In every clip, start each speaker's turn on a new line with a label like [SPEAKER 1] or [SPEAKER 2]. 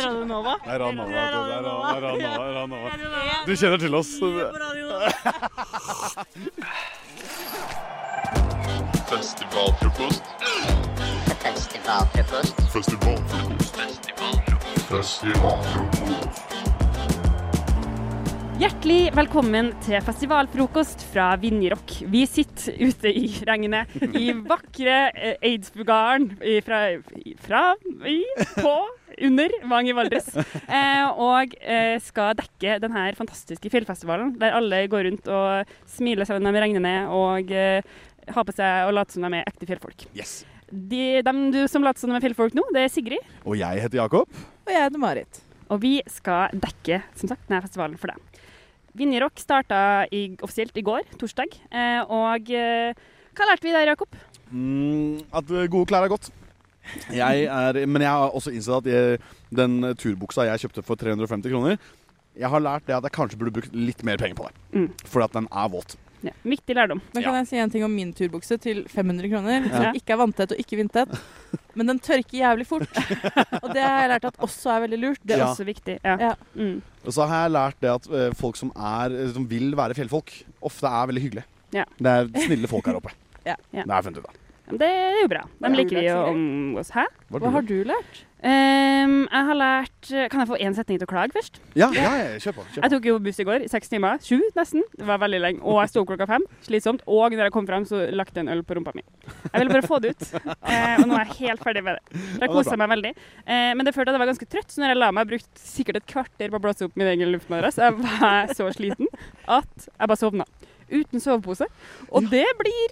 [SPEAKER 1] Radionova.
[SPEAKER 2] Det er Ranova. Det er Ranova. det er Ranova, Ranova.
[SPEAKER 1] Radionova.
[SPEAKER 2] Du kjenner til oss.
[SPEAKER 3] Festivalfrokost.
[SPEAKER 4] Festivalfrokost.
[SPEAKER 3] Festivalfrokost. Festivalfrokost.
[SPEAKER 1] Hjertelig velkommen til festivalfrokost fra Vinjerock. Vi sitter ute i regnet i vakre eh, Eidsbugaren i- fra, i- fra i, på, under Vang i Valdres. Eh, og eh, skal dekke denne fantastiske fjellfestivalen der alle går rundt og smiler selv om de regner ned og eh, har på seg og later som de er ekte fjellfolk.
[SPEAKER 2] Yes.
[SPEAKER 1] De, dem du som later som de er fjellfolk nå, det er Sigrid.
[SPEAKER 2] Og jeg heter Jakob.
[SPEAKER 5] Og jeg heter Marit.
[SPEAKER 1] Og vi skal dekke som sagt, denne festivalen for deg. Vinjerock starta i, offisielt i går, torsdag. Eh, og eh, hva lærte vi der, Jakob?
[SPEAKER 2] Mm, at eh, gode klær er godt. Jeg er, men jeg har også innsett at jeg, den turbuksa jeg kjøpte for 350 kroner Jeg har lært det at jeg kanskje burde brukt litt mer penger på det.
[SPEAKER 1] Mm.
[SPEAKER 2] Fordi at den er våt.
[SPEAKER 1] Ja, viktig lærdom.
[SPEAKER 5] Da kan
[SPEAKER 2] Ja.
[SPEAKER 5] jeg si en ting om min turbukse til 500 kroner.
[SPEAKER 1] Ja.
[SPEAKER 5] Som ikke er vanntett og ikke vindtett. Men den tørker jævlig fort. Og det har jeg lært at også er veldig lurt.
[SPEAKER 1] Det er
[SPEAKER 2] Ja.
[SPEAKER 1] også viktig. Ja.
[SPEAKER 5] Ja.
[SPEAKER 1] Mm.
[SPEAKER 2] Og så har jeg lært det at eh, folk som, er, som vil være fjellfolk, ofte er veldig hyggelige.
[SPEAKER 1] Ja.
[SPEAKER 2] Det er snille folk her oppe.
[SPEAKER 5] Ja.
[SPEAKER 1] Ja.
[SPEAKER 2] Det har jeg funnet ut av.
[SPEAKER 1] Men Det er jo bra.
[SPEAKER 5] Ja.
[SPEAKER 1] Dem liker vi å omgås. Hæ?
[SPEAKER 2] Var
[SPEAKER 5] Hva
[SPEAKER 2] det
[SPEAKER 5] har du lært?
[SPEAKER 1] Ehm, jeg har lært Kan jeg få én setning til å klage først?
[SPEAKER 2] du? Ja, ja, ja, kjør på. Kjør
[SPEAKER 1] Jeg
[SPEAKER 2] på.
[SPEAKER 1] tok jo buss i går i seks timer. Sju, nesten. Det var veldig lenge. Og jeg sto opp klokka fem. Slitsomt. Og når jeg kom fram, så lagt jeg en øl på rumpa mi. Jeg ville bare få det ut. Eh, og nå er jeg helt ferdig med det. Jeg
[SPEAKER 2] Ja, det er
[SPEAKER 1] kosa meg veldig. Eh, men det førte at jeg var ganske trøtt, så når jeg la meg, jeg brukte sikkert et kvarter på å blåse opp min egen luftmadrass. Jeg var så sliten at jeg bare sovna. Uten sovepose. Og det blir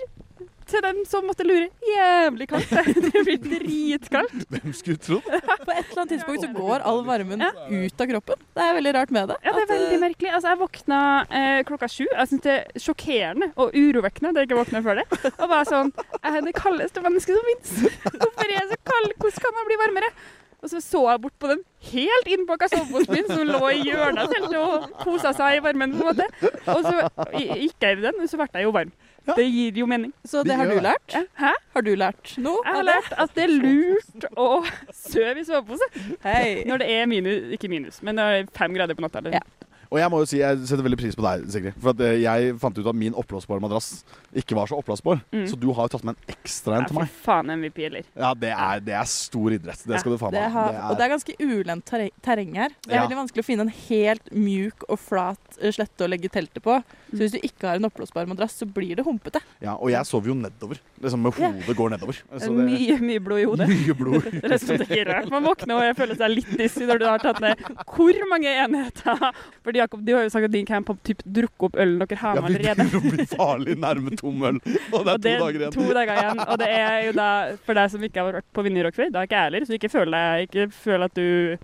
[SPEAKER 1] til dem som måtte lure. Jævlig kaldt. Det blir dritkaldt.
[SPEAKER 2] Hvem skulle trodd?
[SPEAKER 5] På et eller annet tidspunkt så går all varmen ut av kroppen. Det er veldig rart med det.
[SPEAKER 1] Ja, det er
[SPEAKER 5] At, eh,
[SPEAKER 1] veldig merkelig. Altså, jeg våkna eh, klokka sju. Jeg syns det er sjokkerende og urovekkende at jeg ikke våkna før det. Og bare sånn Jeg er det kaldeste mennesket som fins. Hvorfor er jeg så kald? Hvordan kan jeg bli varmere? Og så så jeg bort på den helt innpakka soveposen min som lå i hjørnet av teltet og kosa seg i varmen. på en måte. Og så i- gikk jeg i den, og så ble jeg jo varm. Det gir jo mening.
[SPEAKER 5] Så det har
[SPEAKER 2] gjør
[SPEAKER 5] du
[SPEAKER 2] det.
[SPEAKER 5] lært?
[SPEAKER 1] Hæ?
[SPEAKER 5] Har du lært noe?
[SPEAKER 1] Jeg har
[SPEAKER 5] av det?
[SPEAKER 1] lært at det er lurt å sove i sovepose
[SPEAKER 5] Hei.
[SPEAKER 1] når det er minus, ikke minus, men når det er fem grader på natta. eller-
[SPEAKER 5] Ja.
[SPEAKER 2] Og jeg må jo si, jeg setter veldig pris på deg, Sigrid. For at eh, jeg fant ut at min oppblåsbare madrass ikke var så oppblåsbar.
[SPEAKER 1] Mm.
[SPEAKER 2] Så du har jo tatt med en ekstra en
[SPEAKER 1] Ja,
[SPEAKER 2] til
[SPEAKER 1] fy
[SPEAKER 2] meg.
[SPEAKER 1] faen MVP, eller?
[SPEAKER 2] Ja, det er, det er stor idrett. Det skal du faen
[SPEAKER 5] Det
[SPEAKER 2] meg
[SPEAKER 5] har, og det er ganske ulendt terre- terreng her. Det er
[SPEAKER 2] Ja.
[SPEAKER 5] veldig vanskelig å finne en helt mjuk og flat eh, slette å legge teltet på.
[SPEAKER 1] Mm.
[SPEAKER 5] Så hvis du ikke har en oppblåsbar madrass, så blir det humpete.
[SPEAKER 2] ja, og jeg sover jo nedover. Liksom med
[SPEAKER 5] Ja.
[SPEAKER 2] hodet går nedover. Så det-
[SPEAKER 1] Mye, mye blod i hodet.
[SPEAKER 2] mye blod.
[SPEAKER 1] Det er sånn det ikke er rart. Man våkner og jeg føler seg litt dizzy når du har tatt ned hvor mange enheter. Fordi Jakob, du har jo sagt at din camp har typ drukket opp ølen dere har
[SPEAKER 2] Ja,
[SPEAKER 1] med
[SPEAKER 2] vi
[SPEAKER 1] allerede.
[SPEAKER 2] begynner å bli farlig nærme tom øl. Og det er
[SPEAKER 1] Og det
[SPEAKER 2] to dager igjen.
[SPEAKER 1] to dager igjen. Og det er jo da, for deg som ikke har vært på Vinjerock før, da er ikke jeg heller, så ikke føl deg, ikke føl at du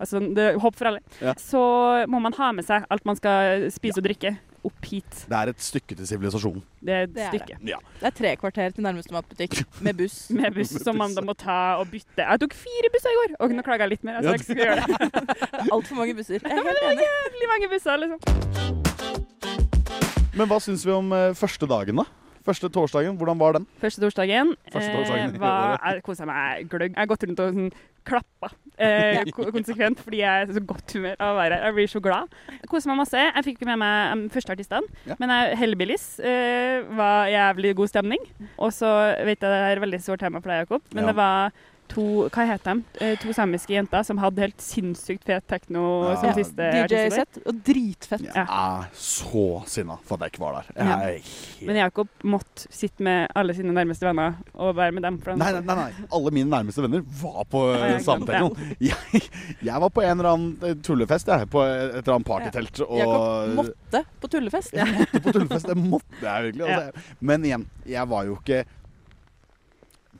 [SPEAKER 1] Altså, det er håp for alle.
[SPEAKER 2] Ja.
[SPEAKER 1] Så må man ha med seg alt man skal spise og drikke opp hit.
[SPEAKER 2] Det er et stykke til sivilisasjonen.
[SPEAKER 1] Det er et
[SPEAKER 5] Det er det.
[SPEAKER 1] stykke.
[SPEAKER 5] Det er tre kvarter til nærmeste matbutikk med buss.
[SPEAKER 1] Med buss som man da må ta og bytte. Jeg tok fire busser i går, og nå klager jeg litt mer. Altså,
[SPEAKER 2] Ja,
[SPEAKER 1] jeg skal gjøre det.
[SPEAKER 5] Altfor mange busser. Jeg
[SPEAKER 1] Ja,
[SPEAKER 5] er
[SPEAKER 1] men
[SPEAKER 5] helt
[SPEAKER 1] det var
[SPEAKER 5] enig.
[SPEAKER 1] jævlig mange busser, liksom.
[SPEAKER 2] Men hva syns vi om eh, første dagen, da? Første torsdagen, hvordan var den?
[SPEAKER 1] Første torsdagen,
[SPEAKER 2] Første torsdagen i
[SPEAKER 1] eh, var,
[SPEAKER 2] året.
[SPEAKER 1] jeg koset meg gløgg. Jeg har gått rundt og sånn, klappa eh, ko- konsekvent fordi jeg er i så godt humør av å være her. Jeg blir så glad. Jeg koset meg masse. Jeg fikk ikke med meg um, første artistene,
[SPEAKER 2] Ja.
[SPEAKER 1] men jeg- Hellbillies eh, var jævlig god stemning. Og så vet jeg det er et veldig sårt tema for deg, Jakob, men
[SPEAKER 2] Ja.
[SPEAKER 1] det var to, hva het de? Eh, To samiske jenter som hadde helt sinnssykt fet tekno
[SPEAKER 2] Ja.
[SPEAKER 1] som siste artist i går.
[SPEAKER 5] DJ-sett og dritfett.
[SPEAKER 2] Jeg er så sinna for at jeg ikke var der. Jeg er helt...
[SPEAKER 1] Men Jakob måtte sitte med alle sine nærmeste venner og være med dem. For han-
[SPEAKER 2] Nei, nei, nei, nei. Alle mine nærmeste venner var på
[SPEAKER 1] Ja, jeg glemte
[SPEAKER 2] samtalen. Jeg, jeg var på en eller annen eh, tullefest, jeg. På et eller annet partytelt.
[SPEAKER 5] Jakob
[SPEAKER 2] Og
[SPEAKER 5] måtte på tullefest.
[SPEAKER 2] jeg måtte på tullefest. Det måtte jeg virkelig.
[SPEAKER 1] Ja.
[SPEAKER 2] Altså, jeg- men igjen, jeg var jo ikke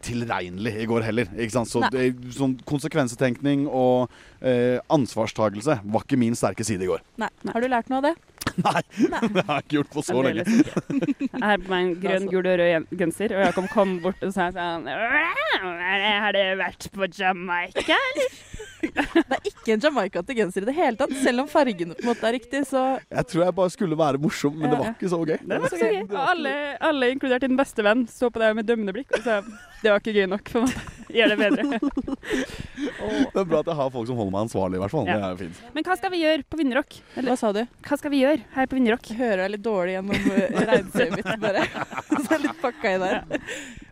[SPEAKER 2] tilregnelig i går heller. Ikke sant? Så
[SPEAKER 5] Nei.
[SPEAKER 2] det, sånn konsekvensetenkning og eh, ansvarstagelse var ikke min sterke side i går.
[SPEAKER 5] Nei. Har du lært noe av det?
[SPEAKER 2] Nei, det har jeg ikke gjort på så lenge.
[SPEAKER 1] Fremdeles ikke. Altså. Jeg har på meg en grønn, gul og rød gen- genser, og Jakob kom bort og sa sånn «Wow, Har du vært på Jamaica?
[SPEAKER 5] Det er ikke ikke en Jamaica-ete genser i det hele tatt, selv om fargene på en måte er riktig. Så
[SPEAKER 2] Jeg tror jeg bare skulle være morsom, men det var ikke så gøy.
[SPEAKER 1] Det var så gøy. Og alle, alle inkludert din beste venn, så på deg med dømmende blikk og sa det var ikke gøy nok for meg. Gjør det bedre.
[SPEAKER 2] Det er bra at jeg har folk som holder meg ansvarlig, i hvert fall.
[SPEAKER 1] Ja.
[SPEAKER 2] Det er jo fint.
[SPEAKER 1] Men hva skal vi gjøre på Vinderrock?
[SPEAKER 5] hva sa du?
[SPEAKER 1] Hva skal vi gjøre her på Vinderrock?
[SPEAKER 5] Jeg hører deg litt dårlig gjennom eh, regnsøyet mitt, bare. Så jeg er litt pakka i der.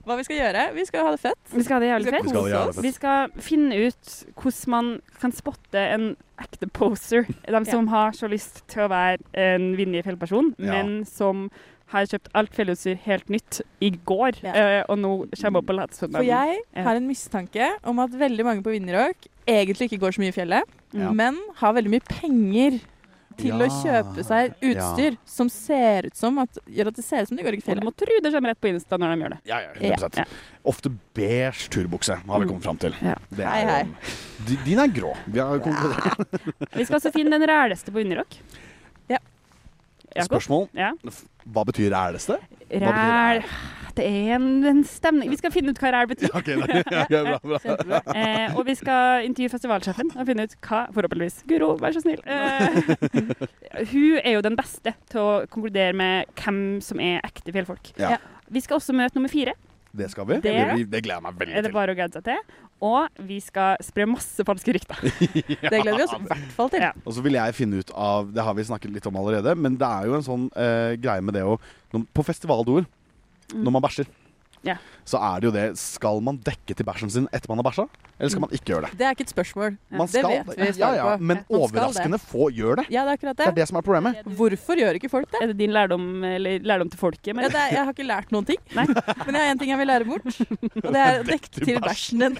[SPEAKER 5] Hva vi skal gjøre? Vi skal ha det fett.
[SPEAKER 1] Vi skal ha det
[SPEAKER 5] Vi
[SPEAKER 1] jævlig
[SPEAKER 5] skal
[SPEAKER 1] fett.
[SPEAKER 2] Vi skal ha det
[SPEAKER 5] kose
[SPEAKER 2] jævlig
[SPEAKER 5] oss.
[SPEAKER 1] Vi skal finne ut hvordan man kan spotte en ekte poser. De som har så lyst til å være en vinner fjellperson,
[SPEAKER 2] Ja.
[SPEAKER 1] men som har kjøpt alt fjellutstyr helt nytt i går,
[SPEAKER 5] Ja.
[SPEAKER 1] eh, og nå kommer opp på
[SPEAKER 5] For
[SPEAKER 1] Latsundalen.
[SPEAKER 5] jeg har en mistanke om at veldig mange på Vinjerock egentlig ikke går så mye i fjellet,
[SPEAKER 2] Ja.
[SPEAKER 5] men har veldig mye penger til å
[SPEAKER 2] Ja.
[SPEAKER 5] kjøpe seg utstyr som ser ut som at, gjør at det ser ut som de går i
[SPEAKER 1] Og det
[SPEAKER 5] fjellet.
[SPEAKER 1] må tro det kommer rett på Insta når de gjør det.
[SPEAKER 2] Ja, ja, 100
[SPEAKER 1] Ja.
[SPEAKER 2] Ofte beige turbukse, har vi kommet fram til.
[SPEAKER 1] Ja.
[SPEAKER 2] Det er,
[SPEAKER 5] Hei, hei.
[SPEAKER 2] Di- Din er grå. Vi har kommet til
[SPEAKER 1] Vi skal også finne den ræleste på Vinderrock.
[SPEAKER 5] Ja.
[SPEAKER 2] det.
[SPEAKER 1] Jakob?
[SPEAKER 2] Spørsmål.
[SPEAKER 1] Ja.
[SPEAKER 2] Hva betyr æleste? betyr
[SPEAKER 1] Ræl Det er en, en stemning Vi skal finne ut hva ræl betyr.
[SPEAKER 2] Ok, nei, ja, ok, bra, bra.
[SPEAKER 5] Kjempebra.
[SPEAKER 1] Eh, og vi skal intervjue festivalsjefen og finne ut hva Forhåpentligvis. Guro, vær så snill. Eh, hun er jo den beste til å konkludere med hvem som er ekte fjellfolk.
[SPEAKER 2] Ja.
[SPEAKER 1] Vi skal også møte nummer fire.
[SPEAKER 2] Det skal vi.
[SPEAKER 1] Det-
[SPEAKER 2] Det, blir- det gleder jeg meg
[SPEAKER 1] Er
[SPEAKER 2] veldig
[SPEAKER 1] det
[SPEAKER 2] til.
[SPEAKER 1] bare å glede seg til? Og vi skal spre masse falske rykter.
[SPEAKER 5] Det gleder vi oss i hvert fall til.
[SPEAKER 1] Ja.
[SPEAKER 2] Og så vil jeg finne ut av Det har vi snakket litt om allerede, men det er jo en sånn eh, greie med det å når, På festivaldoer, når man bæsjer,
[SPEAKER 1] Ja.
[SPEAKER 2] så er det jo det Skal man dekke til bæsjen sin etter man har bæsja, eller skal man ikke gjøre det?
[SPEAKER 5] Det er ikke et spørsmål.
[SPEAKER 1] Ja.
[SPEAKER 2] Man
[SPEAKER 5] Det
[SPEAKER 2] skal,
[SPEAKER 5] vet vi
[SPEAKER 2] ja,
[SPEAKER 5] svaret
[SPEAKER 2] ja,
[SPEAKER 5] på.
[SPEAKER 2] men
[SPEAKER 5] Man skal
[SPEAKER 2] overraskende få gjør det.
[SPEAKER 5] Ja, det er akkurat
[SPEAKER 2] Det
[SPEAKER 5] det.
[SPEAKER 2] er det som er problemet.
[SPEAKER 5] Hvorfor gjør ikke folk det?
[SPEAKER 1] Er det din lærdom, eller lærdom til folket?
[SPEAKER 5] Ja,
[SPEAKER 1] Men
[SPEAKER 5] det er, jeg har ikke lært noen ting,
[SPEAKER 1] Nei.
[SPEAKER 5] men jeg har én ting jeg vil lære bort. Og det er å dekke til bæsjen din.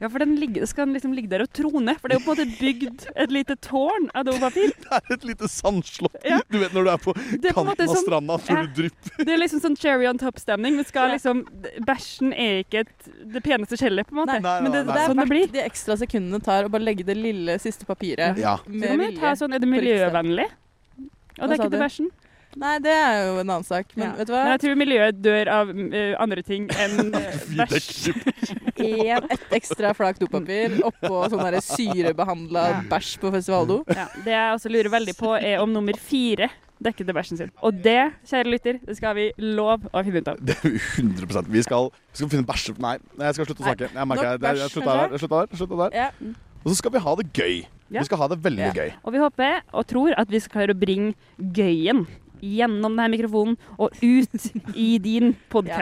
[SPEAKER 1] ja, for den ligger, skal den liksom ligge der og trone. For det er jo på en måte bygd et lite tårn av dopapir.
[SPEAKER 2] Det er et lite sandslott.
[SPEAKER 1] Ja.
[SPEAKER 2] Du vet når du er på
[SPEAKER 1] Det er på en måte sånn-
[SPEAKER 2] kanten av
[SPEAKER 1] som
[SPEAKER 2] stranda før
[SPEAKER 1] Ja.
[SPEAKER 2] du drypper.
[SPEAKER 1] Det er liksom sånn cherry on top-stemning. Vi skal
[SPEAKER 5] Ja.
[SPEAKER 1] liksom Bæsjen er ikke et, det peneste skjellet, på en måte.
[SPEAKER 5] Nei,
[SPEAKER 2] nei,
[SPEAKER 1] Men det, det
[SPEAKER 2] nei, nei.
[SPEAKER 1] er sånn det blir.
[SPEAKER 5] De ekstra sekundene det tar å bare legge det lille siste papiret
[SPEAKER 2] Ja.
[SPEAKER 1] Så
[SPEAKER 5] med
[SPEAKER 1] kan vi ta
[SPEAKER 5] vilje.
[SPEAKER 1] sånn, Er det
[SPEAKER 5] på riktig sted.
[SPEAKER 1] miljøvennlig? Og det
[SPEAKER 5] Hva
[SPEAKER 1] er
[SPEAKER 5] sa
[SPEAKER 1] ikke til
[SPEAKER 5] du?
[SPEAKER 1] bæsjen.
[SPEAKER 5] Nei, det er jo en annen sak, men
[SPEAKER 1] Ja.
[SPEAKER 5] vet du
[SPEAKER 1] Men jeg
[SPEAKER 5] hva?
[SPEAKER 1] tror miljøet dør av eh, andre ting enn eh,
[SPEAKER 2] Vi
[SPEAKER 1] bæsj.
[SPEAKER 2] dekker på
[SPEAKER 5] En, et ekstra flak dopapir oppå sånn der syrebehandla
[SPEAKER 1] Ja.
[SPEAKER 5] bæsj på festivaldo.
[SPEAKER 1] Ja, det jeg også lurer veldig på, er om nummer fire dekker til bæsjen sin. Og det, kjære lytter, det skal vi lov å finne ut av.
[SPEAKER 2] det. 100 Vi skal, vi skal finne bæsje... Nei, jeg skal slutte å
[SPEAKER 5] Nei.
[SPEAKER 2] snakke. Jeg merker
[SPEAKER 5] Nok
[SPEAKER 2] jeg, jeg, jeg
[SPEAKER 5] bæsj,
[SPEAKER 2] slutta der. Jeg slutta der, jeg slutta der.
[SPEAKER 5] Ja.
[SPEAKER 2] Og så skal vi ha det gøy.
[SPEAKER 1] Ja.
[SPEAKER 2] Vi skal ha det veldig
[SPEAKER 5] Ja.
[SPEAKER 2] gøy.
[SPEAKER 1] Og vi håper og tror at vi skal klare å bringe gøyen gjennom denne mikrofonen og ut i din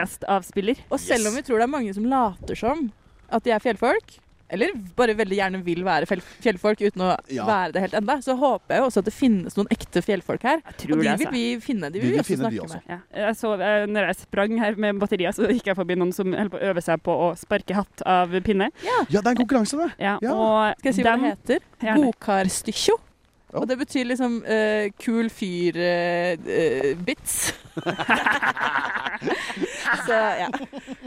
[SPEAKER 1] podkastavspiller.
[SPEAKER 5] Og selv om vi tror det er mange som later som at de er fjellfolk, eller bare veldig gjerne vil være fjell- fjellfolk uten å
[SPEAKER 2] Ja.
[SPEAKER 5] være det helt enda, så håper jeg jo også at det finnes noen ekte fjellfolk her.
[SPEAKER 1] Jeg
[SPEAKER 5] Og
[SPEAKER 1] tror
[SPEAKER 5] de
[SPEAKER 1] det,
[SPEAKER 5] vil
[SPEAKER 1] altså.
[SPEAKER 5] vi finne. De
[SPEAKER 2] Vi
[SPEAKER 5] vil vi
[SPEAKER 2] vil
[SPEAKER 5] også
[SPEAKER 2] finne de
[SPEAKER 5] snakke
[SPEAKER 2] også.
[SPEAKER 5] med.
[SPEAKER 1] Ja. Jeg så, eh, når jeg sprang her med batterier, så gikk jeg forbi noen som holder på å øve seg på å sparke hatt av pinne.
[SPEAKER 2] Ja, det er en konkurranse, det.
[SPEAKER 1] Ja,
[SPEAKER 2] Ja.
[SPEAKER 1] Og
[SPEAKER 5] Skal jeg si hva
[SPEAKER 1] dem-
[SPEAKER 5] det heter?
[SPEAKER 1] Gjerne.
[SPEAKER 5] Godkarstykkjo.
[SPEAKER 2] Ja.
[SPEAKER 5] Og det betyr liksom eh, kul eh, fyr-bits. Så ja.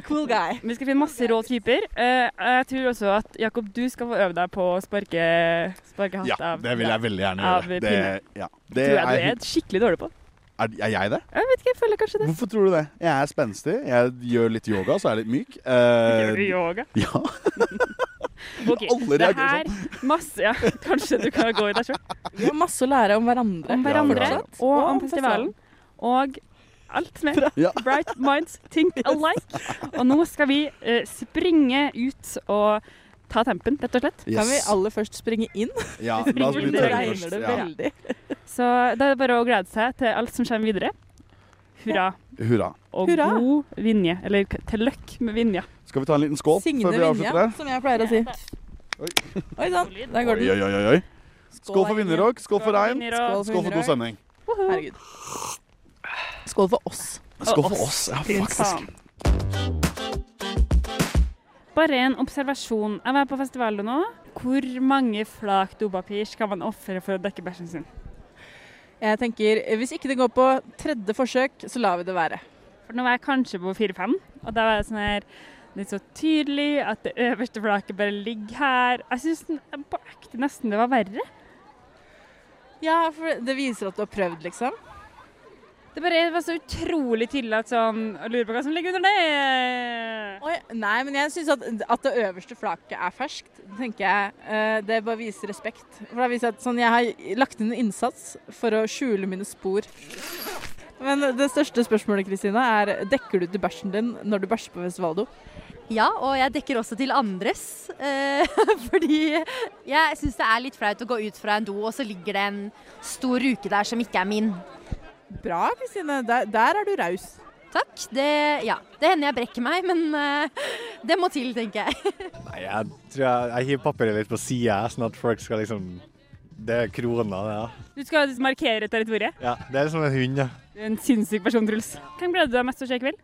[SPEAKER 5] Cool guy.
[SPEAKER 1] Vi skal finne masse rå typer. Eh, jeg tror også at Jakob, du skal få øve deg på å sparke, sparke hatt
[SPEAKER 2] Ja,
[SPEAKER 1] av
[SPEAKER 2] det vil jeg veldig gjerne
[SPEAKER 1] Av
[SPEAKER 2] gjøre. Det,
[SPEAKER 1] pinne.
[SPEAKER 2] ja. det
[SPEAKER 1] tror
[SPEAKER 2] er,
[SPEAKER 1] jeg du er skikkelig dårlig på.
[SPEAKER 2] er, er jeg det?
[SPEAKER 1] Jeg vet ikke, jeg føler kanskje det.
[SPEAKER 2] Hvorfor tror du det? Jeg er spenstig. Jeg gjør litt yoga, så er jeg litt myk.
[SPEAKER 1] Gjør du
[SPEAKER 2] Eh,
[SPEAKER 1] yoga?
[SPEAKER 2] ja.
[SPEAKER 1] Ok,
[SPEAKER 2] Alle
[SPEAKER 1] det
[SPEAKER 2] reagerer
[SPEAKER 1] her masse, ja, Kanskje du kan gå i deg selv.
[SPEAKER 5] Vi har masse å lære om hverandre.
[SPEAKER 1] Om
[SPEAKER 2] Ja,
[SPEAKER 1] hverandre
[SPEAKER 2] fortsatt.
[SPEAKER 1] og
[SPEAKER 5] Og om
[SPEAKER 1] om festivalen. Og alt mer.
[SPEAKER 2] Ja.
[SPEAKER 1] Bright minds think alike. Og nå skal vi eh, springe ut og ta tempen, rett og slett.
[SPEAKER 5] Kan vi
[SPEAKER 2] Yes.
[SPEAKER 5] aller først springe inn?
[SPEAKER 2] Ja,
[SPEAKER 1] Vi
[SPEAKER 2] la oss
[SPEAKER 1] springer
[SPEAKER 2] bli
[SPEAKER 1] litt,
[SPEAKER 5] Det
[SPEAKER 1] tørre
[SPEAKER 2] først.
[SPEAKER 5] regner det
[SPEAKER 2] Ja.
[SPEAKER 5] veldig.
[SPEAKER 1] Så da er det bare å glede seg til alt som kommer videre. Hurra.
[SPEAKER 2] Hurra.
[SPEAKER 1] Og
[SPEAKER 5] Hurra!
[SPEAKER 1] god vinje. Eller k- til løkk med vinja.
[SPEAKER 2] Skal vi ta en liten skål
[SPEAKER 5] Signe
[SPEAKER 2] før vi avslutter
[SPEAKER 5] Vinja,
[SPEAKER 2] her?
[SPEAKER 5] som jeg pleier å si.
[SPEAKER 2] Oi.
[SPEAKER 5] Oi sann, der går
[SPEAKER 2] Oi,
[SPEAKER 5] den.
[SPEAKER 2] oi, oi, oi. Skål for vinnerrock, skål for regn,
[SPEAKER 1] Skål.
[SPEAKER 2] skål for god stemning.
[SPEAKER 5] Herregud. Skål for oss.
[SPEAKER 2] Skål for oss. Ja,
[SPEAKER 1] Fy
[SPEAKER 2] faktisk.
[SPEAKER 1] faen. Bare en observasjon. Jeg var på festivalet nå. Hvor mange flak dopapir skal man ofre for å dekke bæsjen sin?
[SPEAKER 5] Jeg tenker, Hvis ikke det går på tredje forsøk, så lar vi det være.
[SPEAKER 1] For nå var jeg kanskje på 4-5, og da var jeg sånn her Litt så tydelig at det øverste flaket bare ligger her. Jeg syns på ekte nesten det var verre.
[SPEAKER 5] Ja, for Det viser at du har prøvd, liksom.
[SPEAKER 1] Det bare var så utrolig tydelig at sånn Jeg lurer på hva som ligger under det.
[SPEAKER 5] Oi, nei, men jeg syns at, at det øverste flaket er ferskt. Det tenker jeg. Eh, Det bare viser respekt. For det viser at sånn, Jeg har lagt inn en innsats for å skjule mine spor. Men det største spørsmålet Kristina, er dekker du til bæsjen din når du bæsjer på Vestvaldo?
[SPEAKER 4] Ja, og jeg dekker også til andres. eh, fordi jeg syns det er litt flaut å gå ut fra en do, og så ligger det en stor ruke der som ikke er min.
[SPEAKER 5] Bra, Kristine. Der, der er du raus.
[SPEAKER 4] Takk. Det, ja, det hender jeg brekker meg, men eh, det må til, tenker jeg.
[SPEAKER 6] Nei, jeg tror jeg, jeg hiver papiret litt på sida, sånn at folk skal liksom Det er krona, det. Ja.
[SPEAKER 1] Du skal liksom markere territoriet.
[SPEAKER 6] ja det er liksom en hund, ja.
[SPEAKER 1] Du er En sinnssyk person, Truls. Hvem gleder du deg mest til å se i kveld?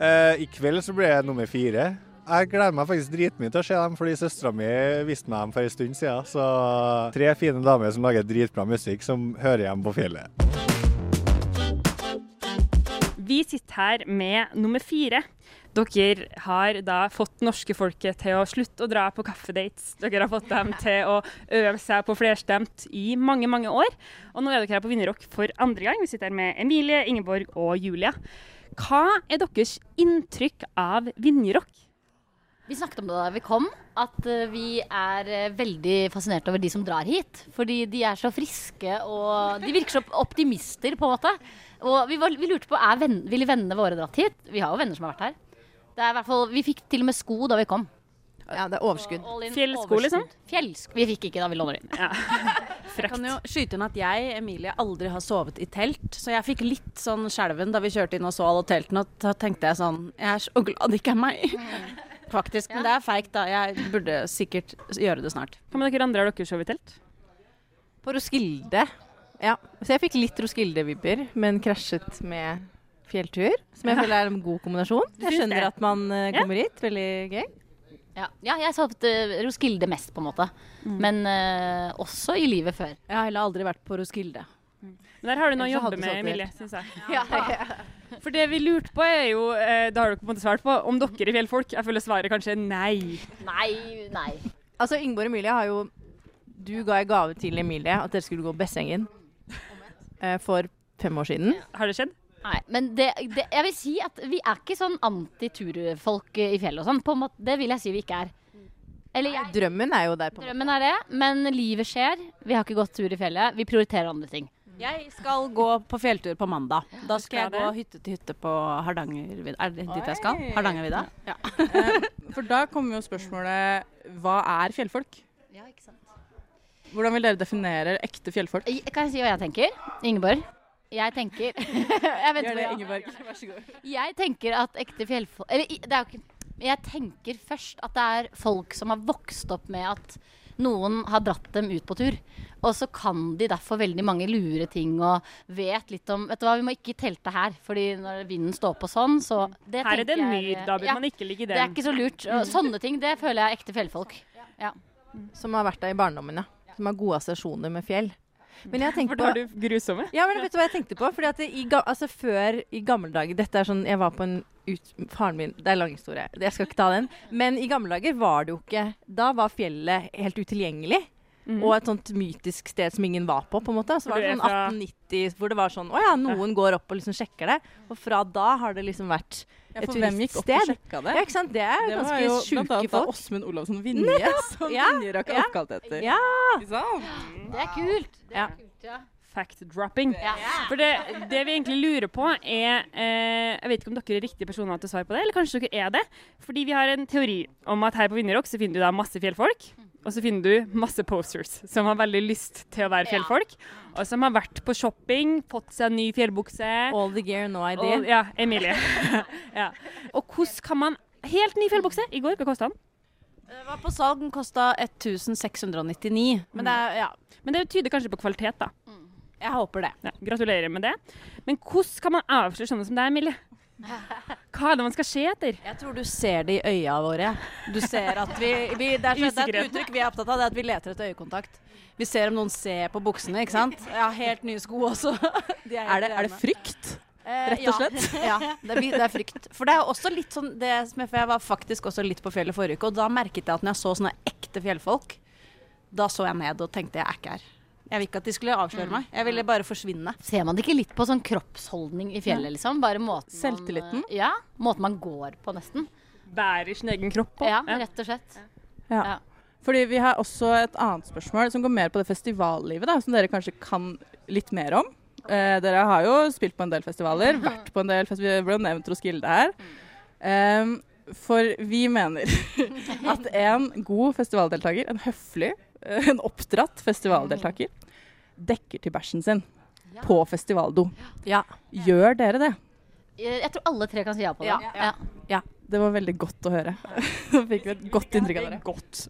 [SPEAKER 6] Eh, I kveld så blir jeg nummer fire. Jeg gleder meg faktisk dritmye til å se dem, fordi søstera mi viste meg dem for en stund siden. Så tre fine damer som lager dritbra musikk, som hører hjemme på fjellet.
[SPEAKER 1] Vi sitter her med nummer fire. Dere har da fått norske folket til å slutte å dra på kaffedates. Dere har fått dem til å øve seg på flerstemt i mange, mange år. Og nå er dere her på Vinnerrock for andre gang. Vi sitter her med Emilie, Ingeborg og Julia. Hva er deres inntrykk av Vinjerrock?
[SPEAKER 7] Vi snakket om det da vi kom, at eh, vi er eh, veldig fascinert over de som drar hit. Fordi de er så friske, og de virker som optimister, på en måte. Og vi, var, vi lurte på er venn, ville vennene våre dratt hit. Vi har jo venner som har vært her. Det er i hvert fall, Vi fikk til og med sko da vi kom.
[SPEAKER 4] Ja, det er overskudd.
[SPEAKER 7] All in
[SPEAKER 1] Fjellsko,
[SPEAKER 7] overskudd.
[SPEAKER 1] liksom?
[SPEAKER 7] Fjellsko. Vi fikk ikke da, vi låner inn.
[SPEAKER 1] Frekt.
[SPEAKER 8] kan jo skyte inn at jeg, Emilie, aldri har sovet i telt. Så jeg fikk litt sånn skjelven da vi kjørte inn og så alle teltene, og da tenkte jeg sånn Jeg er så glad det ikke er meg.
[SPEAKER 7] Mm.
[SPEAKER 8] Faktisk. Men det er feigt, da. Jeg burde sikkert gjøre det snart.
[SPEAKER 1] Hva med dere andre? Har dere sovet i telt?
[SPEAKER 9] På Roskilde. Ja. Så jeg fikk litt Roskilde-vibber, men krasjet med fjelltur. Som jeg føler er en god kombinasjon. Jeg
[SPEAKER 1] syns det?
[SPEAKER 9] skjønner at man eh,
[SPEAKER 1] Ja.
[SPEAKER 9] kommer hit. Veldig gøy.
[SPEAKER 7] Ja, ja jeg savnet eh, Roskilde mest, på en måte.
[SPEAKER 5] Mm.
[SPEAKER 7] Men eh, også i livet før.
[SPEAKER 8] Jeg har heller aldri vært på Roskilde.
[SPEAKER 1] Men der har du noe å
[SPEAKER 8] Ellers så
[SPEAKER 1] jobbe
[SPEAKER 8] hadde du
[SPEAKER 1] med,
[SPEAKER 8] solgt
[SPEAKER 1] Emilie, syns jeg. For det vi lurte på, er jo eh, Det har dere på en måte svart på. Om dere er fjellfolk? Jeg føler svaret kanskje er nei.
[SPEAKER 7] Nei, nei.
[SPEAKER 9] Altså, Ingeborg og Emilie har jo Du ga i gave til Emilie at dere skulle gå Bessengen eh, for fem år siden.
[SPEAKER 1] Har det skjedd?
[SPEAKER 7] Nei, men det, det, jeg vil si at vi er ikke sånn antiturfolk i fjellet og sånn. På en måte, det vil jeg si vi ikke er. Eller jeg,
[SPEAKER 9] Drømmen er jo der. på en måte.
[SPEAKER 7] drømmen er det, men livet skjer. Vi har ikke gått tur i fjellet. Vi prioriterer andre ting.
[SPEAKER 8] Jeg skal gå på fjelltur på mandag. Da skal jeg
[SPEAKER 1] Skal
[SPEAKER 8] gå
[SPEAKER 1] det?
[SPEAKER 8] hytte til hytte på Hardangervidda. Er det dit jeg skal?
[SPEAKER 5] Oi.
[SPEAKER 8] Hardangervidda? Ja.
[SPEAKER 5] Eh, For da kommer jo spørsmålet hva er fjellfolk?
[SPEAKER 7] Ja, ikke sant?
[SPEAKER 5] Hvordan vil dere definere ekte fjellfolk?
[SPEAKER 7] Kan jeg si hva jeg tenker? Ingeborg? Jeg tenker Jeg
[SPEAKER 5] Gjør det,
[SPEAKER 7] vet ikke hva
[SPEAKER 5] Ingeborg. Vær så god.
[SPEAKER 7] Jeg tenker at ekte fjellfolk Eller i- det er jo ikke men Jeg tenker først at det er folk som har vokst opp med at noen har dratt dem ut på tur. Og så kan de derfor veldig mange lure ting og vet litt om Vet du hva, vi må ikke telte her, fordi når vinden står på sånn, så det
[SPEAKER 1] Her er det
[SPEAKER 7] tenker
[SPEAKER 1] en
[SPEAKER 7] jeg-
[SPEAKER 1] myr, da bør
[SPEAKER 7] ja,
[SPEAKER 1] man ikke ligge i
[SPEAKER 7] Det er
[SPEAKER 1] den.
[SPEAKER 7] ikke så lurt. Og sånne ting, det føler jeg er ekte fjellfolk.
[SPEAKER 9] Som har vært der i barndommen, ja. Som har gode assosiasjoner med fjell. Men jeg
[SPEAKER 1] For
[SPEAKER 9] tenker
[SPEAKER 1] da
[SPEAKER 9] på
[SPEAKER 1] har du grusomme.
[SPEAKER 9] Ja, men vet du hva jeg tenkte på? Fordi at det i, ga- altså før i gamle dager Dette er sånn, jeg var på en ut, Faren min, det er lang historie, jeg skal ikke ta den. Men i gamle dager var det jo ikke Da var fjellet helt utilgjengelig. Og et sånt mytisk sted som ingen var på, på en måte. Så
[SPEAKER 1] For
[SPEAKER 9] var det
[SPEAKER 1] Mhm. du er
[SPEAKER 9] sånn
[SPEAKER 1] fra-
[SPEAKER 9] 1890 hvor det var sånn Å ja, noen går opp og liksom sjekker det. Og fra da har det liksom vært
[SPEAKER 5] Ja,
[SPEAKER 9] Et
[SPEAKER 5] for hvem gikk opp og
[SPEAKER 9] turiststed?
[SPEAKER 5] sjekka
[SPEAKER 9] Ja,
[SPEAKER 5] det?
[SPEAKER 9] ikke sant. Det er
[SPEAKER 5] Det var jo
[SPEAKER 9] ganske
[SPEAKER 5] blant
[SPEAKER 9] sjuke
[SPEAKER 5] annet da
[SPEAKER 9] folk.
[SPEAKER 5] Åsmund Olavsson Vinje, som
[SPEAKER 9] Ja,
[SPEAKER 5] Vinjerock er
[SPEAKER 9] ja.
[SPEAKER 5] oppkalt etter.
[SPEAKER 9] Ja.
[SPEAKER 5] Ikke sant?
[SPEAKER 7] Det er kult. Det
[SPEAKER 9] Ja.
[SPEAKER 7] er kult, ja.
[SPEAKER 1] Fact-dropping. For det, det vi egentlig lurer på, er eh, Jeg vet ikke om dere er riktige personer til å svare på det, eller kanskje dere er det. Fordi vi har en teori om at her på Vinjerock så finner du da masse fjellfolk. Og så finner du masse posters som har veldig lyst til å være
[SPEAKER 7] Ja.
[SPEAKER 1] fjellfolk. Og som har vært på shopping, fått seg ny fjellbukse.
[SPEAKER 9] All the gear, no idea.
[SPEAKER 1] Og, ja, Emilie. ja. Og hvordan kan man Helt ny fjellbukse i går, hva kosta den?
[SPEAKER 8] Det var Eh, på salg, den kosta 1699. Men det er, ja.
[SPEAKER 1] Men det tyder kanskje på kvalitet, da.
[SPEAKER 8] Jeg håper det.
[SPEAKER 1] Ja, gratulerer med det. Men hvordan kan man avsløre sånne som deg, Emilie? Hva er det man skal se etter?
[SPEAKER 8] Jeg tror du ser det i øya våre. Du ser at vi, vi det, er, så- det er et
[SPEAKER 1] Usikkerheten.
[SPEAKER 8] uttrykk vi er opptatt av, det er at vi leter etter øyekontakt. Vi ser om noen ser på buksene, ikke sant. Jeg har helt nye sko også. De
[SPEAKER 5] Er det, er det frykt?
[SPEAKER 8] Rett og slett. Ja, ja det, er, det er frykt. For det er også litt sånn det som jeg, For jeg var faktisk også litt på fjellet forrige uke, og da merket jeg at når jeg så sånne ekte fjellfolk, da så jeg ned og tenkte jeg er ikke her. Jeg vil ikke at de skulle avsløre meg. Jeg ville bare forsvinne.
[SPEAKER 7] Ser man det ikke litt på sånn kroppsholdning i fjellet, liksom? Bare måten
[SPEAKER 5] Selvtilliten?
[SPEAKER 7] Man, ja. Måten man går på, nesten.
[SPEAKER 1] Bærer sin egen kropp på.
[SPEAKER 7] Ja, rett og slett. Ja.
[SPEAKER 5] Fordi vi har også et annet spørsmål som går mer på det festivallivet, da, som dere kanskje kan litt mer om. Eh, dere har jo spilt på en del festivaler, vært på en del festivaler, ble jo nevnt Roskilde her. Ehm, for vi mener at en god festivaldeltaker, en høflig, eh, en oppdratt festivaldeltaker, dekker til bæsjen sin på festivaldo.
[SPEAKER 9] Ja.
[SPEAKER 5] Gjør dere det?
[SPEAKER 7] Jeg jeg tror alle tre kan si ja på det.
[SPEAKER 9] Ja.
[SPEAKER 7] Ja.
[SPEAKER 5] Det var veldig godt å høre. Nå fikk vi et godt inntrykk av dere.
[SPEAKER 1] Godt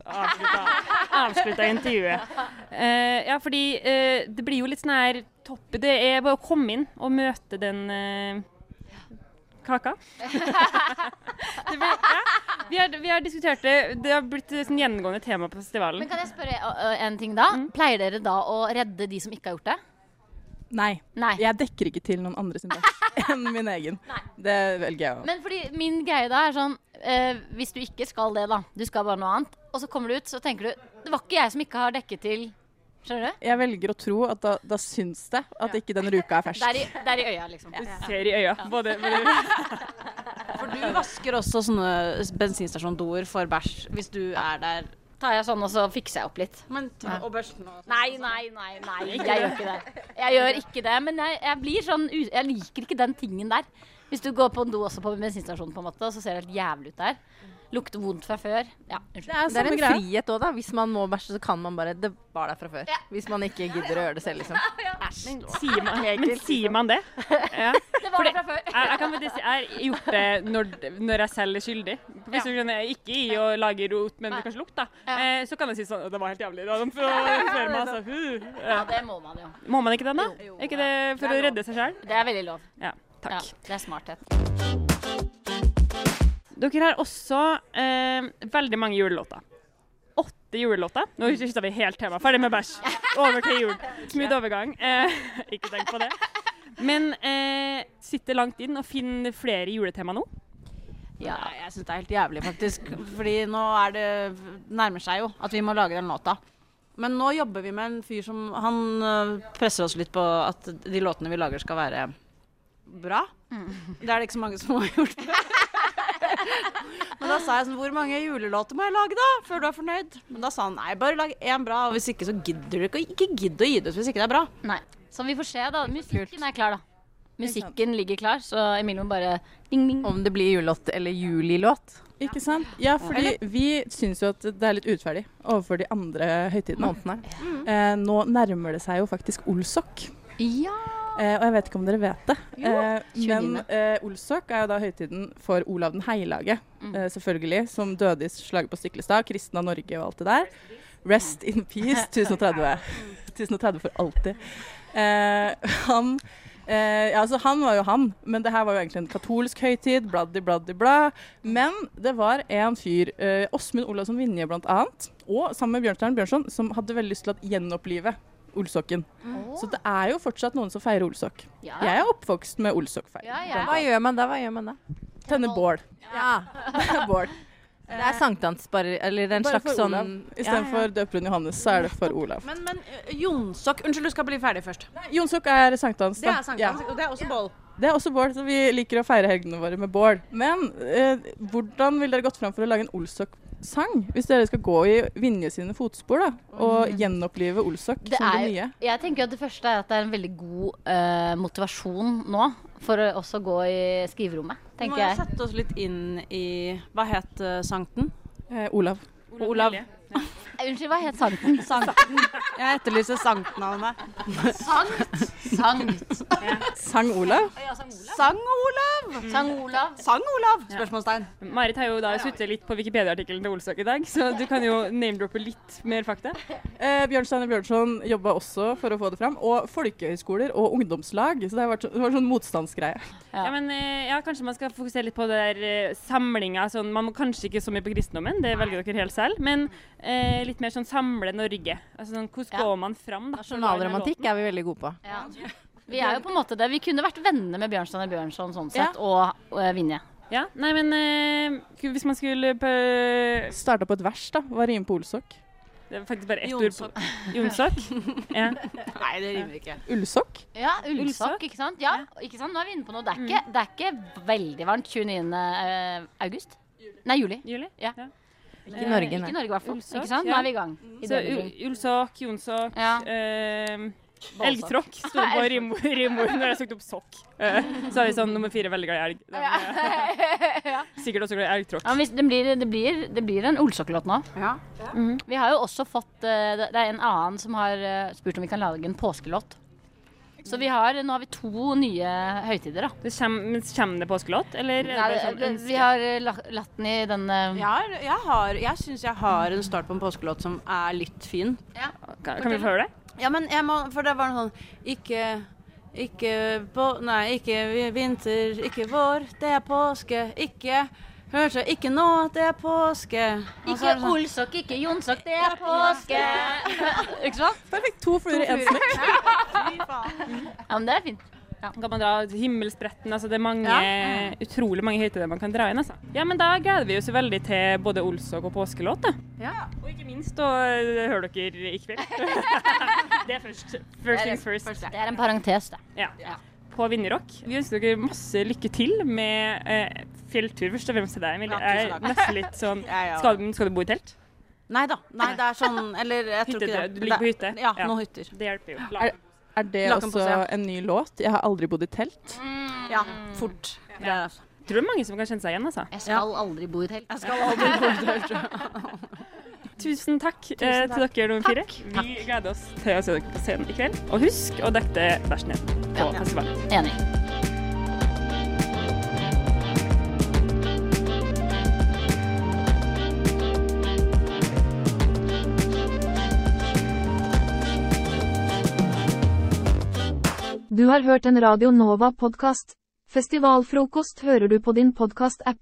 [SPEAKER 1] avslutta intervjuet. Eh, ja, fordi eh, det blir jo litt sånn her topp Det er bare å komme inn og møte den eh, kaka. det blir, ja. vi, har, vi har diskutert det. Det har blitt et sånn gjengående tema på festivalen.
[SPEAKER 7] Men kan jeg spørre ø, ø, en ting da? Pleier dere da å redde de som ikke har gjort det?
[SPEAKER 5] Nei.
[SPEAKER 7] Nei.
[SPEAKER 5] Jeg dekker ikke til noen andre sin bæsj enn min egen. Det velger jeg å
[SPEAKER 7] Men fordi min greie da er sånn eh, Hvis du ikke skal det, da. Du skal bare noe annet. Og så kommer du ut, så tenker du Det var ikke jeg som ikke har dekket til Skjønner du?
[SPEAKER 5] Jeg velger å tro at da, da syns det at ikke den ruka er fersk.
[SPEAKER 7] Der i, der i øya, liksom.
[SPEAKER 1] Ser i øya. Både, både.
[SPEAKER 8] For du vasker også sånne bensinstasjondoer for bæsj hvis du er der.
[SPEAKER 7] Tar jeg sånn, og så fikser jeg opp litt.
[SPEAKER 8] Men, og børsten og sånn.
[SPEAKER 7] Nei, nei, nei. nei, Jeg gjør ikke det. Jeg gjør ikke det, men jeg, jeg blir sånn u- Jeg liker ikke den tingen der. Hvis du går på en do også på bensinstasjonen, på en måte, og så ser det helt jævlig ut der. Lukter vondt fra før. Ja, unnskyld.
[SPEAKER 9] Det
[SPEAKER 5] er
[SPEAKER 9] er
[SPEAKER 5] samme
[SPEAKER 9] en
[SPEAKER 5] greia.
[SPEAKER 9] frihet òg, da. Hvis man må bæsje, så kan man bare Det var der fra før. Hvis man ikke gidder å gjøre det selv, liksom.
[SPEAKER 1] Sier man, men
[SPEAKER 7] liksom.
[SPEAKER 1] sier man det? Ja.
[SPEAKER 7] Det var det fra før.
[SPEAKER 1] Jeg, jeg kan faktisk si jeg har gjort det når, når jeg selv er skyldig. Hvis du skjønner, Ikke i å lage rot, men kanskje lukt, da. Eh, så kan jeg si sånn «Å, Det var helt jævlig. Da. De før meg, altså. Hu.
[SPEAKER 7] Ja, det må man jo.
[SPEAKER 1] Må man ikke den, da? Er ikke det for å redde seg sjøl?
[SPEAKER 7] Det er veldig lov.
[SPEAKER 1] Ja.
[SPEAKER 7] Ja,
[SPEAKER 1] Takk.
[SPEAKER 7] det er smarthet.
[SPEAKER 1] Dere har også eh, veldig mange julelåter. Åtte julelåter. Nå skifter vi helt tema. Ferdig med bæsj. Over til jul. Smooth overgang. Eh, ikke tenk på det. Men eh, sitter langt inn og finner flere juletema nå.
[SPEAKER 7] Ja.
[SPEAKER 8] Nei, jeg syns det er helt jævlig, faktisk. Fordi nå er det nærmer seg jo at vi må lage den låta. Men nå jobber vi med en fyr som Han øh, presser oss litt på at de låtene vi lager, skal være bra. Det er det ikke så mange som har gjort før. Men da sa jeg sånn Hvor mange julelåter må jeg lage, da? Før du er fornøyd? Men da sa han nei, bare lag én bra. Og hvis ikke, så gidder du ikke. Ikke gidd å gi det ut hvis ikke det er bra.
[SPEAKER 7] Nei. Så vi får se, da. Musikken er klar, da. Musikken ligger klar, så Emilie må bare ding, ding.
[SPEAKER 9] Om det blir julelåt eller julilåt.
[SPEAKER 5] Ikke sant? Ja, fordi vi syns jo at det er litt urettferdig overfor de andre høytidene.
[SPEAKER 9] Månedene.
[SPEAKER 5] Eh, nå nærmer det seg jo faktisk Olsok.
[SPEAKER 7] Ja.
[SPEAKER 5] Eh, og jeg vet ikke om dere vet det, eh, men
[SPEAKER 7] inn.
[SPEAKER 5] eh, Olsok er jo da høytiden for Olav den heilage, eh, selvfølgelig, som døde i slaget på Stiklestad, kristen av Norge og alt det der. Rest in peace, 1030. 1030 for alltid. Eh, han eh, ja, altså Han var jo han, men det her var jo egentlig en katolsk høytid. Bladdi, bladdi, bla. Men det var en fyr, eh, Åsmund Olavsson Vinje blant annet, og sammen med Bjørnstjerne Bjørnson, som hadde veldig lyst til å gjenopplive Olsokken. Så det er jo fortsatt noen som feirer Olsok.
[SPEAKER 7] Ja.
[SPEAKER 5] Jeg er oppvokst med Olsokfeiring.
[SPEAKER 7] Ja, ja.
[SPEAKER 9] Hva gjør man da? Hva gjør man da?
[SPEAKER 5] Tenne bål.
[SPEAKER 9] Ja.
[SPEAKER 5] bål.
[SPEAKER 9] Det er sankthans, bare. Eller det er en
[SPEAKER 5] Bare
[SPEAKER 9] slags
[SPEAKER 5] for Olav.
[SPEAKER 9] sånn
[SPEAKER 5] Istedenfor døperen Johannes, så er det for Olav.
[SPEAKER 8] Men, men øh, Jonsok Unnskyld, du skal bli ferdig først.
[SPEAKER 5] Jonsok er sankthans,
[SPEAKER 8] Det
[SPEAKER 5] da.
[SPEAKER 8] er sankthans, og det er også bål.
[SPEAKER 5] Det er også bål, så vi liker å feire helgene våre med bål. Men eh, hvordan ville dere gått fram for å lage en Olsok-sang? Hvis dere skal gå i Vinje sine fotspor da, og gjenopplive Olsok
[SPEAKER 7] Det
[SPEAKER 5] som
[SPEAKER 7] er,
[SPEAKER 5] det nye.
[SPEAKER 7] jeg tenker at det første er at det er en veldig god eh, motivasjon nå for å også gå i skriverommet,
[SPEAKER 8] Vi må
[SPEAKER 7] tenker
[SPEAKER 8] jo
[SPEAKER 7] jeg.
[SPEAKER 8] sette oss litt inn i Hva het uh, sankten?
[SPEAKER 5] Eh, Olav.
[SPEAKER 8] Olav.
[SPEAKER 7] Eh, Unnskyld, hva het sangen?
[SPEAKER 8] Sankten. Jeg etterlyser sanktnavnet.
[SPEAKER 7] Sankt? Sankt.
[SPEAKER 5] Sang Olav.
[SPEAKER 8] Sang-Olav!
[SPEAKER 7] Sang Olav.
[SPEAKER 8] Sang-Olav! Spørsmålstegn.
[SPEAKER 1] Marit har jo da suttet litt på Wikipedia-artikkelen til Olsak i dag, så du kan jo name-droppe litt mer fakta.
[SPEAKER 5] Eh, Bjørnstein og Bjørnson jobba også for å få det fram. Og folkehøyskoler og ungdomslag. Så det har vært så, det var sånn motstandsgreie.
[SPEAKER 1] Ja, men eh, ja, kanskje man skal fokusere litt på det der eh, samlinga. Sånn, man må kanskje ikke så mye på kristendommen, det velger dere helt selv. Men eh, litt mer sånn samle Norge. Altså sånn, Hvordan
[SPEAKER 7] Ja.
[SPEAKER 1] går man fram? da?
[SPEAKER 9] Nasjonalromantikk er vi veldig gode på.
[SPEAKER 7] Ja. Vi er jo på en måte det. Vi kunne vært venner med Bjørnstjerne Bjørnson sånn sett, og eh, Vinje.
[SPEAKER 1] Ja, nei, men eh, hvis man skulle på
[SPEAKER 5] Starta på et vers, da. Hva rimer på Olsok?
[SPEAKER 1] Det er faktisk bare ett ord på
[SPEAKER 8] Jonsok.
[SPEAKER 1] Jonsok. Ja.
[SPEAKER 8] Nei, det rimer ikke.
[SPEAKER 5] Ullsokk?
[SPEAKER 7] Ja, ullsokk, ikke sant? Ja, ikke sant? Nå er vi inne på noe. Det er ikke, det er ikke veldig varmt 29. eh, august. Nei, juli.
[SPEAKER 1] Juli?
[SPEAKER 7] Ja.
[SPEAKER 9] Ikke i Norge,
[SPEAKER 7] Eh, Ikke
[SPEAKER 9] nei.
[SPEAKER 7] i Norge, i hvert fall.
[SPEAKER 1] Ullsokk,
[SPEAKER 7] Ikke sant? Nå
[SPEAKER 1] ja.
[SPEAKER 7] er vi i gang. I
[SPEAKER 1] Så
[SPEAKER 7] denne
[SPEAKER 1] u- ullsokk, jonsokk
[SPEAKER 7] Ja.
[SPEAKER 1] ehm,
[SPEAKER 7] Bålsokk.
[SPEAKER 1] Elgtråkk sto det på rim- rimord når jeg søkte opp sokk. Eh, så er vi sånn nummer fire veldig glad i elg. Da må jeg
[SPEAKER 7] ja.
[SPEAKER 1] Sikkert også glad i elgtråkk.
[SPEAKER 7] Ja, men hvis, det, blir, det, blir, det blir en ullsokkelåt nå.
[SPEAKER 8] Ja.
[SPEAKER 7] Mhm. Vi har jo også fått eh, Det det er en annen som har eh, spurt om vi kan lage en påskelåt. Så vi har, nå har vi to nye høytider, da.
[SPEAKER 1] Det kjem, men kommer det påskelåt, eller? er det
[SPEAKER 7] Nei,
[SPEAKER 1] bare
[SPEAKER 7] det,
[SPEAKER 1] sånn
[SPEAKER 7] det,
[SPEAKER 1] ønske?
[SPEAKER 7] vi har eh, la- latt den i den eh,
[SPEAKER 8] Jeg, har, jeg, har, jeg syns jeg har en start på en påskelåt som er litt fin.
[SPEAKER 1] Kan, kan vi få høre det?
[SPEAKER 8] Ja, men jeg må For det var noe sånn Ikke Ikke på Nei, ikke vi- vinter, ikke vår, det er påske. Ikke Hørte ikke nå, det er påske. Og så er
[SPEAKER 7] Ikke
[SPEAKER 8] det sånn-
[SPEAKER 7] olsokk, ikke jonsokk, det er påske! ikke sant?
[SPEAKER 5] Perfekt. To fluer i én smekk.
[SPEAKER 7] Ja, men det er fint.
[SPEAKER 1] Kan man dra himmelspretten? Altså, det er mange,
[SPEAKER 7] Ja.
[SPEAKER 1] utrolig mange høytider man kan dra inn. Altså. Ja, men da gleder vi oss jo veldig til både Olsok og påskelåt. Da. Og ikke minst, da eh, hører dere i kveld. det er først. First things first.
[SPEAKER 7] Det er en parentes, det.
[SPEAKER 1] Ja. På Vinjerock. Vi ønsker dere masse lykke til med eh, fjelltur, først og fremst til deg, Emilie.
[SPEAKER 8] Ja, tusen
[SPEAKER 1] Jeg er
[SPEAKER 8] takk.
[SPEAKER 1] nesten litt sånn
[SPEAKER 8] Ja, ja.
[SPEAKER 1] skal, skal du bo i telt?
[SPEAKER 8] Nei da. Nei, det er sånn Eller jeg tror ikke
[SPEAKER 1] Hytte,
[SPEAKER 8] det.
[SPEAKER 1] du ligger på hytte?
[SPEAKER 8] Ja,
[SPEAKER 1] Ja.
[SPEAKER 8] noen hytter.
[SPEAKER 1] Det hjelper jo.
[SPEAKER 5] Er- Er det
[SPEAKER 8] Lakenpose,
[SPEAKER 5] også
[SPEAKER 8] ja.
[SPEAKER 5] en ny låt? Jeg har aldri bodd i telt.
[SPEAKER 8] Ja, fort. Det er altså.
[SPEAKER 1] Jeg tror det er mange som kan kjenne seg igjen, altså.
[SPEAKER 7] Jeg skal aldri bo i telt.
[SPEAKER 8] Jeg skal aldri bo i telt.
[SPEAKER 1] Tusen takk, eh, til dere nummer fire. Vi gleder oss til å se dere på scenen i kveld. Og husk å dekke bæsjen din på
[SPEAKER 7] Ja.
[SPEAKER 1] festivalen.
[SPEAKER 7] Enig.
[SPEAKER 10] Du har hørt en Radio Nova-podkast. Festivalfrokost hører du på din podkast-app.